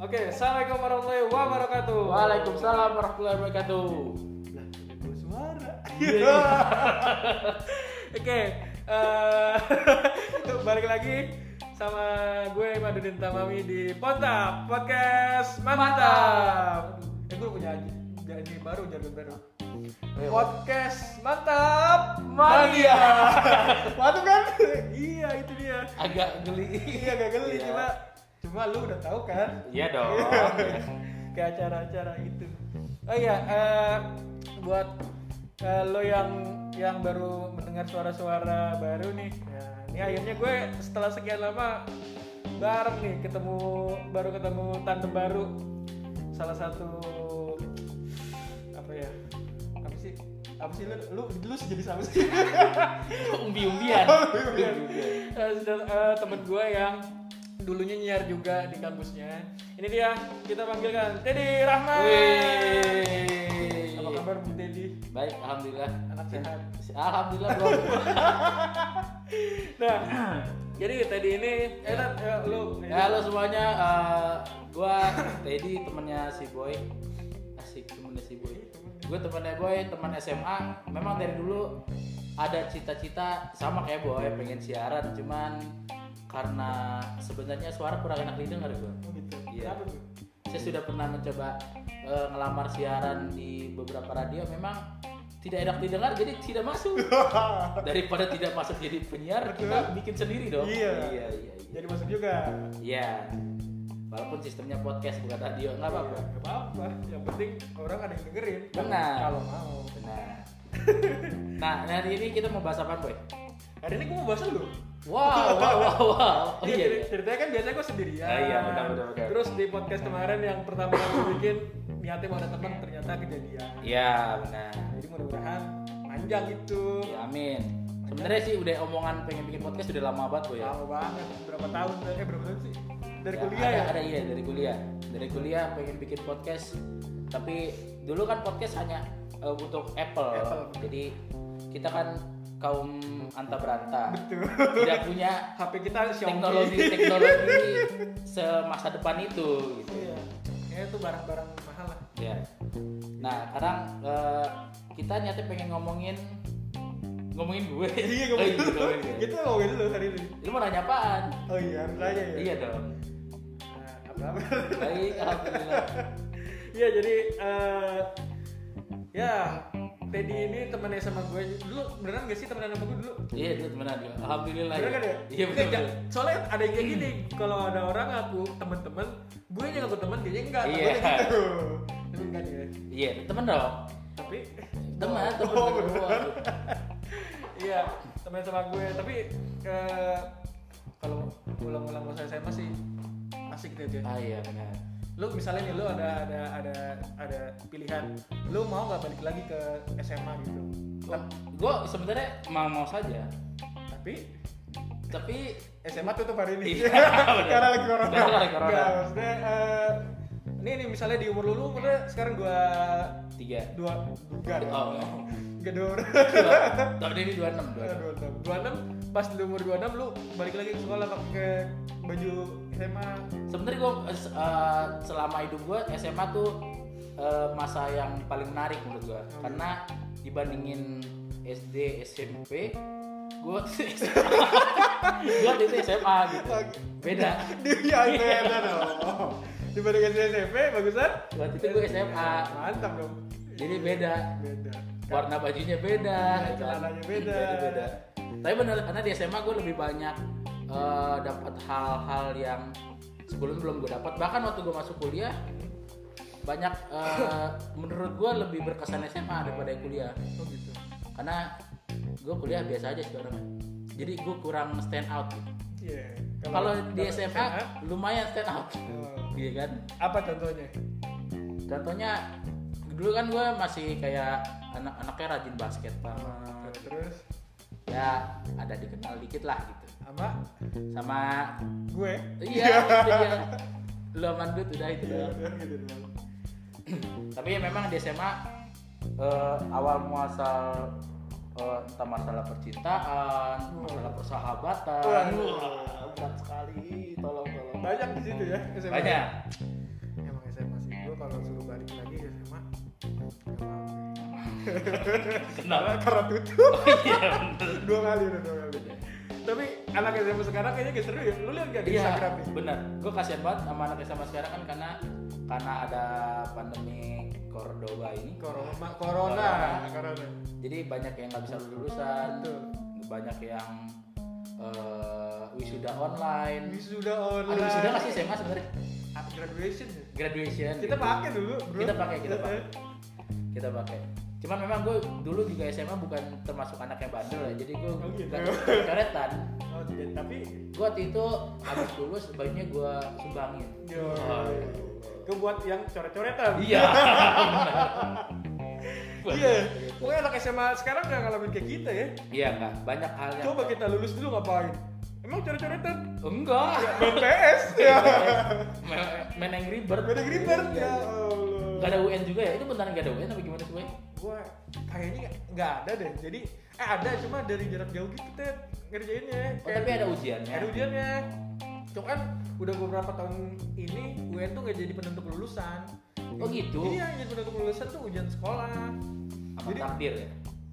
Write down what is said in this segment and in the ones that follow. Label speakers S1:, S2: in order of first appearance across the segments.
S1: Oke, assalamualaikum warahmatullahi wabarakatuh.
S2: Waalaikumsalam warahmatullahi wabarakatuh.
S1: Lah, ada dua suara.
S2: Iya. Oke, eh, balik lagi sama gue Madudin Tamami di Pontap Podcast Mantap.
S1: Aduh, eh, gue punya janji baru, jargon baru.
S2: Oh, iya. Podcast Mantap
S1: Mania.
S2: Mania.
S1: Mantap kan? iya, itu dia.
S2: Agak geli.
S1: Iya, gak geli
S2: Iya.
S1: cuma cuma lu udah tahu kan?
S2: Iya dong.
S1: ke acara-acara itu. Oh iya, eh, buat eh, lo yang yang baru mendengar suara-suara baru nih. Nah, ini akhirnya gue setelah sekian lama bareng nih ketemu baru ketemu tante baru salah satu apa ya apa sih apa sih lu lu, lu jadi sama sih
S2: Umbi-umbian.
S1: Umbi-umbian. Eh, sedang- eh, temen gue yang dulunya nyiar juga di kampusnya ini dia kita panggilkan Teddy Rahman
S2: Wih.
S1: apa kabar Bu Teddy
S2: Baik, alhamdulillah.
S1: anak sehat
S2: Alhamdulillah, Bro.
S1: nah jadi Teddy ini eh Tat, ya, lu
S2: Ya, Halo semuanya, eh, gua Teddy temennya si Boy. Asik temennya si Boy. Gue temennya Boy, teman SMA. Memang dari dulu ada cita-cita sama kayak Boy pengen siaran, cuman karena sebenarnya suara kurang enak didengar gue.
S1: Oh, gitu
S2: Iya.
S1: Kenapa, Bu? Hmm.
S2: Saya sudah pernah mencoba eh, ngelamar siaran di beberapa radio, memang tidak enak didengar jadi tidak masuk. Daripada tidak masuk jadi penyiar, kita bikin sendiri dong.
S1: Iya.
S2: iya, iya. iya.
S1: jadi masuk juga
S2: Iya. Walaupun sistemnya podcast bukan radio, nggak apa-apa.
S1: Iya, nggak apa-apa yang penting orang ada yang dengerin
S2: Benar.
S1: kalau mau
S2: Nah. nah, hari ini kita mau bahas apa, Boy?
S1: hari ini gue mau bahas lu
S2: Wow, wow, wow, wow. Oh,
S1: iya,
S2: iya, iya.
S1: cer- ceritanya kan biasanya gue sendirian.
S2: Ah, iya, benar, benar, benar.
S1: Terus di podcast kemarin yang pertama kali gue bikin niatnya mau ada teman ternyata kejadian.
S2: Iya, benar.
S1: Jadi mudah-mudahan panjang itu.
S2: Ya, amin. Sebenarnya sih udah omongan pengen bikin podcast udah lama banget, Boy. Ya.
S1: Lama banget, berapa tahun? Eh berapa tahun sih? Dari
S2: Ya,
S1: kuliah
S2: ada,
S1: ya?
S2: Ada iya dari kuliah. Dari kuliah pengen bikin podcast. Tapi dulu kan podcast hanya eh, untuk Apple.
S1: Apple.
S2: Jadi kita kan kaum anta beranta.
S1: Betul.
S2: Tidak punya
S1: HP kita Xiaomi.
S2: teknologi teknologi semasa depan itu gitu
S1: Iya. Kayaknya itu barang-barang mahal lah.
S2: ya nah sekarang eh, kita nyatanya pengen ngomongin ngomongin gue
S1: Iya, Gitu
S2: Oh,
S1: ngomongin dulu.
S2: gue.
S1: Kita ngomongin dulu hari ini.
S2: lu mau nanya apaan
S1: Oh iya, harus aja ya.
S2: iya dong
S1: Nah, apa-apa.
S2: baik alhamdulillah
S1: Iya, jadi eh ya Teddy ini temennya sama gue dulu beneran gak sih temenan sama gue dulu?
S2: iya itu temenan gue alhamdulillah
S1: Bener kan ya?
S2: iya betul
S1: Enggak,
S2: betul.
S1: Soalnya ada yang kayak gini, kalau ada orang ngaku temen-temen, gue yang ngaku temen, dia enggak.
S2: Iya.
S1: takutnya gitu. Tapi enggak ya.
S2: iya temen dong
S1: Tapi
S2: teman temen
S1: Oh,
S2: temen
S1: bener.
S2: gue.
S1: iya, temen sama gue. Tapi eh, kalau ulang-ulang masa SMA sih asik gitu ya.
S2: ah iya benar
S1: Lu misalnya nih lu ada ada ada ada pilihan, lu mau nggak balik lagi ke SMA gitu? Tap-
S2: gue sebenarnya mau mau saja
S1: Tapi
S2: tapi
S1: SMA tutup hari ini
S2: Iya, bener.
S1: karena lagi corona.
S2: Karena lagi corona.
S1: Nggak, maksudnya eh, ini nih misalnya di umur lu, lu umurnya sekarang gua
S2: tiga
S1: dua enggak dong.
S2: oh
S1: Enggak dua umur.
S2: tahun ini dua enam dua
S1: Dua
S2: enam
S1: enam. Dua enam pas di umur dua enam lu balik lagi ke sekolah pakai baju SMA.
S2: sebenarnya gue selama hidup gue SMA tuh eh, masa yang paling menarik menurut gue karena dibandingin SD SMP gue gue itu SMA gitu beda
S1: Di
S2: Iya.
S1: ya beda dong. Dibandingkan di SMP bagusan.
S2: waktu itu gue SMA
S1: Mantap dong.
S2: jadi beda
S1: Beda.
S2: warna bajunya beda
S1: Iya, celananya beda.
S2: Jadi beda tapi bener karena di SMA gue lebih banyak eh, dapat hal-hal yang sebelum belum gue dapat bahkan waktu gue masuk kuliah banyak eh, menurut gue lebih berkesan SMA daripada kuliah
S1: Oh gitu.
S2: karena gue kuliah biasa aja sih orangnya jadi gue kurang stand out gitu.
S1: Iya.
S2: kalau di
S1: kalau
S2: SMA lumayan stand out
S1: oh.
S2: iya kan
S1: eh, apa contohnya?
S2: contohnya dulu kan gue masih kayak anak-anaknya rajin basket banget
S1: Nah, terus
S2: ya ada dikenal dikit lah gitu
S1: sama
S2: sama
S1: gue
S2: iya itu dia lu aman gue udah itu doang.
S1: Iya, gitu doang.
S2: tapi ya memang di SMA eh, awal muasal eh, entah masalah percintaan, masalah persahabatan.
S1: Waduh.
S2: Wah, berat sekali. Tolong tolong.
S1: banyak di situ ya SMA
S2: Banyak.
S1: emang SMA sih gue kalau suruh balik lagi ke SMA nggak mau.
S2: Kenapa?
S1: karena tutup
S2: Iya bener.
S1: dua kali udah dua kali tapi anak SMA sekarang kayaknya gak seru ya lu lihat gak di
S2: Iya,
S1: Instagram nih
S2: benar. Gue kasihan banget sama anak SMA sekarang kan karena karena ada pandemi Cordoba ini.
S1: Corona Corona Corona
S2: Jadi banyak yang nggak bisa lulusan,
S1: Betul.
S2: banyak yang eh, wisuda online.
S1: wisuda
S2: Ada
S1: online
S2: wisuda nggak sih SMA sebenarnya?
S1: Up graduation ya?
S2: Graduation.
S1: kita
S2: gitu.
S1: pakai dulu bro
S2: Kita pakai, kita
S1: Eh,
S2: pakai. Kita pakai. Cuman memang gue dulu juga SMA bukan termasuk anak yang bandel ya, jadi gue
S1: Oh, gitu.
S2: nggak coretan.
S1: eh. oh, tidak. tapi
S2: gue waktu itu habis lulus baiknya gue sumbangin
S1: yo gue buat yang coret-coretan
S2: Oh, iya
S1: iya pokoknya anak SMA sekarang udah ngalamin kayak kita ya
S2: iya enggak banyak hal yang
S1: coba kita lulus dulu ngapain emang coret-coretan
S2: enggak
S1: BTS ya
S2: main- main Angry Bird Iya.
S1: beda griper ya Allah
S2: Nggak ada UN juga ya itu beneran gak ada UN apa gimana sih Boy?
S1: gue kayaknya nggak ada deh jadi eh ada cuma dari jarak jauh gitu Ted ngerjainnya
S2: oh tapi ada ujiannya
S1: ada ujiannya cuma kan udah beberapa tahun ini UN tuh nggak jadi penentu kelulusan
S2: Oh, gitu?
S1: iya yang jadi penentu kelulusan tuh ujian sekolah
S2: apa
S1: jadi
S2: takdir ya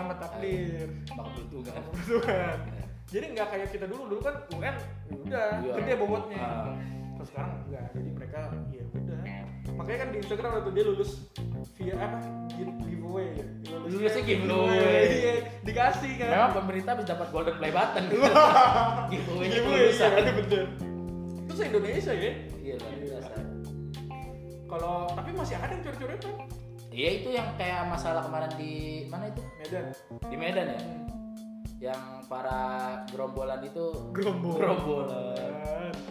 S1: amat takdir
S2: bakal tuh kan
S1: Kebetulan. Gitu jadi nggak kayak kita dulu dulu kan UN ya udah
S2: Iya.
S1: gede bobotnya
S2: Ah.
S1: terus sekarang nggak jadi mereka ya udah makanya kan di Instagram waktu dia lulus via apa gi- giveaway ya
S2: Lulusnya
S1: via
S2: giveaway.
S1: iya dikasih kan
S2: memang pemerintah bisa dapat golden play button gitu gitu
S1: Giveaway, iya
S2: lulusan
S1: ada bener terus Indonesia ya
S2: iya luar biasa
S1: kalau tapi masih ada yang curi-curi tuh
S2: iya itu yang kayak masalah kemarin di mana itu
S1: Medan
S2: di Medan ya yang para gerombolan itu
S1: gerombol
S2: gerombolan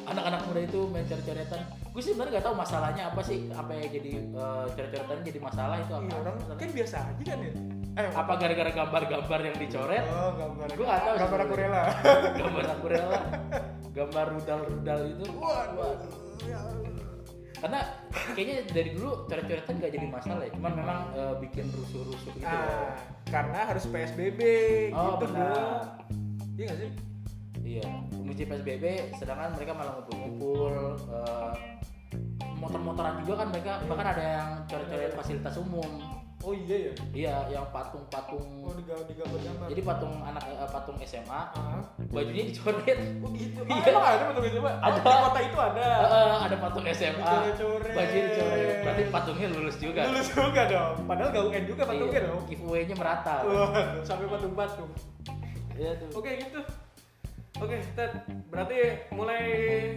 S2: anak-anak muda itu main coret-coretan gue sih sebenarnya nggak tahu masalahnya apa sih apa yang jadi eh, coret-coretan jadi masalah itu apa
S1: iya orang kan biasa aja kan ya eh
S2: apa gara-gara gambar-gambar yang dicoret
S1: oh gambar
S2: Gua nggak tahu
S1: gambar
S2: sebenarnya.
S1: akuarela
S2: gambar aquarela gambar rudal-rudal itu
S1: waduh
S2: Wah.
S1: ya
S2: karena kayaknya dari dulu coret-coretan nggak jadi masalah ya cuman memang eh, bikin rusuh-rusuh gitu
S1: Ah, karena harus PSBB
S2: Oh,
S1: gitu
S2: benar.
S1: bro. Iya gak sih?
S2: iya menuju PSBB sedangkan mereka malah ngumpul-ngumpul eh, motor-motoran juga kan mereka
S1: Iya.
S2: bahkan ada yang coret-coret fasilitas umum
S1: Oh iya ya.
S2: iya yang patung-patung
S1: Oh digambar digambar gambar.
S2: jadi patung anak eh, patung SMA
S1: ah.
S2: bajunya dicoret
S1: Oh gitu.
S2: Iya.
S1: Ah, emang ada betul coba.
S2: Ada.
S1: Di kota itu ada.
S2: Eh, eh, ada patung SMA
S1: Dicoret-coret.
S2: bajunya dicoret berarti patungnya lulus juga
S1: Lulus juga dong. Padahal gak UN juga patungnya dong.
S2: Iya, giveaway-nya merata
S1: Wah, sampai patung-patung.
S2: iya tuh
S1: Oke gitu. Oke, Ted. Berarti mulai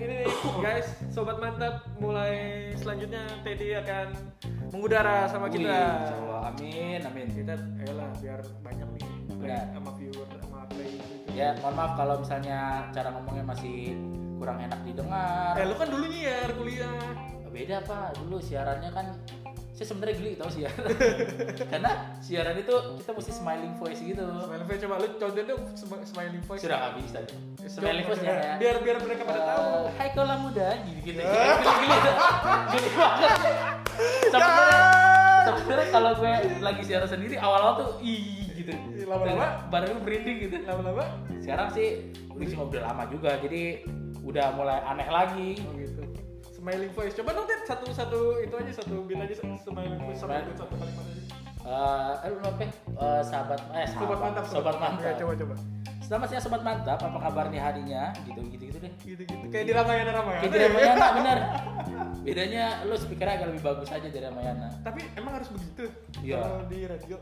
S1: ini nih, guys, sobat mantap. Mulai selanjutnya Teddy akan mengudara sama
S2: Wih,
S1: kita.
S2: insya Allah. amin amin
S1: kita ayolah biar banyak nih play
S2: Benar.
S1: sama viewer sama play gitu.
S2: ya mohon maaf kalau misalnya cara ngomongnya masih kurang enak didengar
S1: eh lu kan dulu nyiar kuliah
S2: beda pak dulu siarannya kan saya sebenarnya geli tau siaran karena siaran itu kita mesti smiling voice gitu
S1: smiley face coba lu contohin dong sm- smiley face
S2: sudah nggak bisa smiling voice ya. nya kayak
S1: biar biar mereka pada tahu
S2: Eh, Hai kolam muda gitu gitu. Geli-geli geli banget.
S1: Ya.
S2: Sebenarnya sebenarnya kalau gue lagi siaran sendiri awal-awal tuh ih gitu.
S1: Lama-lama?
S2: badan gue merinding gitu.
S1: lama-lama
S2: Sekarang sih gue cuma udah lama juga jadi udah mulai aneh lagi.
S1: oh gitu smiley face coba dong Ted satu satu itu aja satu bit aja smiley face satu
S2: Smiley.
S1: bit satu kalimat aja
S2: Eh, eh, lu apa? Eh, sahabat eh sahabat,
S1: sobat mantap
S2: Sobat mantap.
S1: Ya, coba coba
S2: Selamat siang sobat mantap. Apa kabar nih harinya? Gitu gitu gitu deh.
S1: gitu gitu kayak di Ramayana Ramayana
S2: Kayak di ya. Ramayana bener. Bedanya lu speakernya agak lebih bagus aja dari Ramayana.
S1: tapi emang harus begitu
S2: Iya.
S1: kalau di radio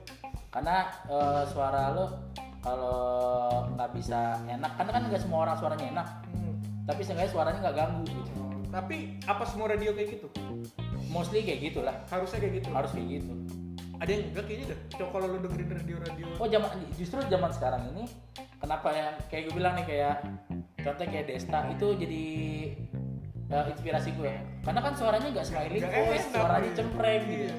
S2: karena eh, suara lo kalau nggak bisa enak karena kan nggak semua orang suaranya enak
S1: Hmm.
S2: tapi seenggaknya suaranya nggak ganggu gitu
S1: tapi apa semua radio kayak gitu
S2: mostly kayak gitulah
S1: harusnya kayak gitu
S2: harus kayak gitu
S1: ada yang enggak kayaknya dah coba kalau lu dengerin radio radio
S2: oh zaman justru zaman sekarang ini kenapa yang kayak gue bilang nih kayak contohnya kayak Desta itu jadi eh, inspirasi gue karena kan suaranya nggak smiling
S1: Nggak
S2: voice
S1: enak,
S2: suaranya
S1: iya.
S2: cempreng gitu
S1: Iya.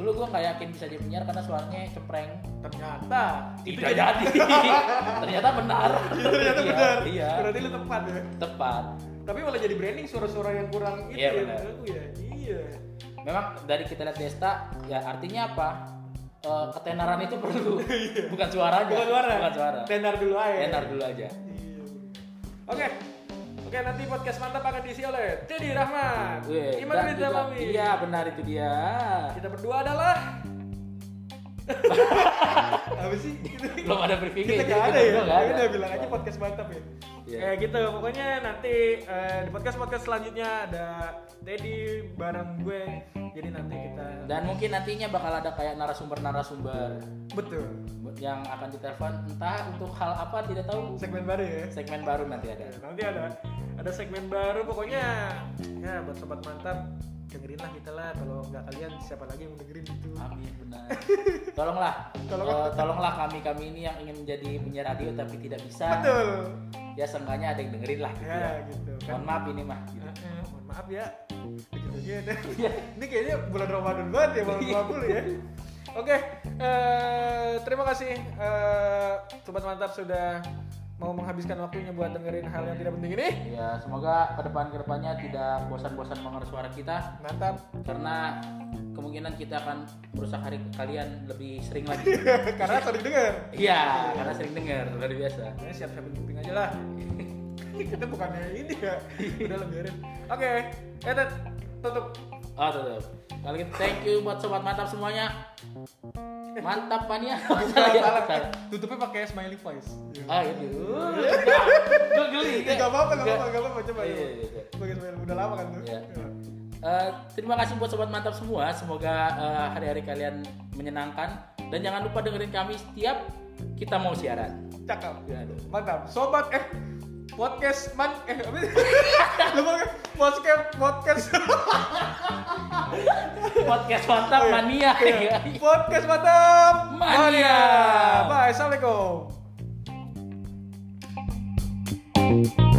S2: dulu gue nggak yakin bisa jadi penyiar karena suaranya cempreng
S1: ternyata itu
S2: tidak
S1: jadi-
S2: jadi ternyata benar
S1: Iya, ternyata
S2: Iya,
S1: benar
S2: iya
S1: berarti lu tepat ya
S2: tepat
S1: tapi malah jadi branding suara-suara yang kurang itu
S2: Iya,
S1: ya
S2: benar.
S1: menurut aku ya iya
S2: Memang dari kita lihat Desta, ya artinya apa? eh, ketenaran itu perlu bukan suara aja
S1: Iya. Bukan suara.
S2: bukan suara
S1: Tenar dulu aja.
S2: tenar dulu aja
S1: Iya. Oke. Oke, nanti podcast mantap akan diisi oleh Teddy Rahmat.
S2: Weh,
S1: Iman
S2: Iya, dan
S1: Rita
S2: juga-
S1: Lami.
S2: iya benar itu dia
S1: Kita berdua adalah Apa sih? Gitu.
S2: belum ada briefing
S1: kita
S2: jadi
S1: gak ada ya
S2: berdua
S1: kita
S2: nggak ada.
S1: udah bilang aja podcast mantap ya
S2: Iya.
S1: kayak gitu pokoknya nanti eh, di podcast podcast selanjutnya ada Teddy bareng gue jadi nanti kita
S2: dan mungkin nantinya bakal ada kayak narasumber-narasumber
S1: betul
S2: yang akan ditelepon entah untuk hal apa tidak tahu
S1: segmen baru ya
S2: segmen baru nanti ada
S1: Ya, nanti ada ada segmen baru pokoknya ya buat sobat mantap dengerin lah kita lah kalau nggak kalian siapa lagi yang mau dengerin itu
S2: Amin benar. Tolonglah,
S1: Tolonglah.
S2: eh, tolonglah kami kami ini yang ingin menjadi penyiar radio tapi tidak bisa.
S1: betul
S2: Ya seenggaknya ada yang dengerin lah. Gitu.
S1: ya gitu
S2: ya.
S1: kan
S2: Mohon maaf ini mah. Gitu.
S1: Eh, eh, mohon maaf ya Begitu aja.
S2: Iya.
S1: Ini kayaknya bulan Ramadan banget ya, bulan 20 ya. Oke, eh, terima kasih eh, Sobat Mantap sudah mau menghabiskan waktunya buat dengerin hal yang tidak penting ini.
S2: ya semoga ke depan kedepannya tidak bosan-bosan mendengar suara kita
S1: Mantap.
S2: karena kemungkinan kita akan merusak hari kalian lebih sering lagi.
S1: Karena sering dengar.
S2: Iya, karena sering dengar luar biasa.
S1: Ya siap-siapin kuping aja lah. Kita bukannya ini ya. Udah lah biarin. Oke, eh Ted, tutup.
S2: Oh, tutup. Kalau gitu thank you buat sobat mantap semuanya. Mantap pania.
S1: Bukan,
S2: Iya,
S1: salah. Tutupnya pakai smiley face.
S2: Ah, gitu. Gue geli.
S1: Gak apa-apa, gak apa-apa, gak apa-apa. Coba, coba.
S2: Iya, iya, iya.
S1: Pakai smiley, udah lama kan tuh.
S2: Iya. Eh, terima kasih buat sobat mantap semua. Semoga eh, hari-hari kalian menyenangkan dan jangan lupa dengerin kami setiap kita mau siaran.
S1: Cakep.
S2: Ya, aduh.
S1: Mantap. Sobat eh podcast man eh apa sih? Lupa kan? podcast podcast
S2: Podcast mantap
S1: Oh, iya.
S2: mania.
S1: podcast mantap
S2: Iya, Mania.
S1: Bye. Assalamualaikum.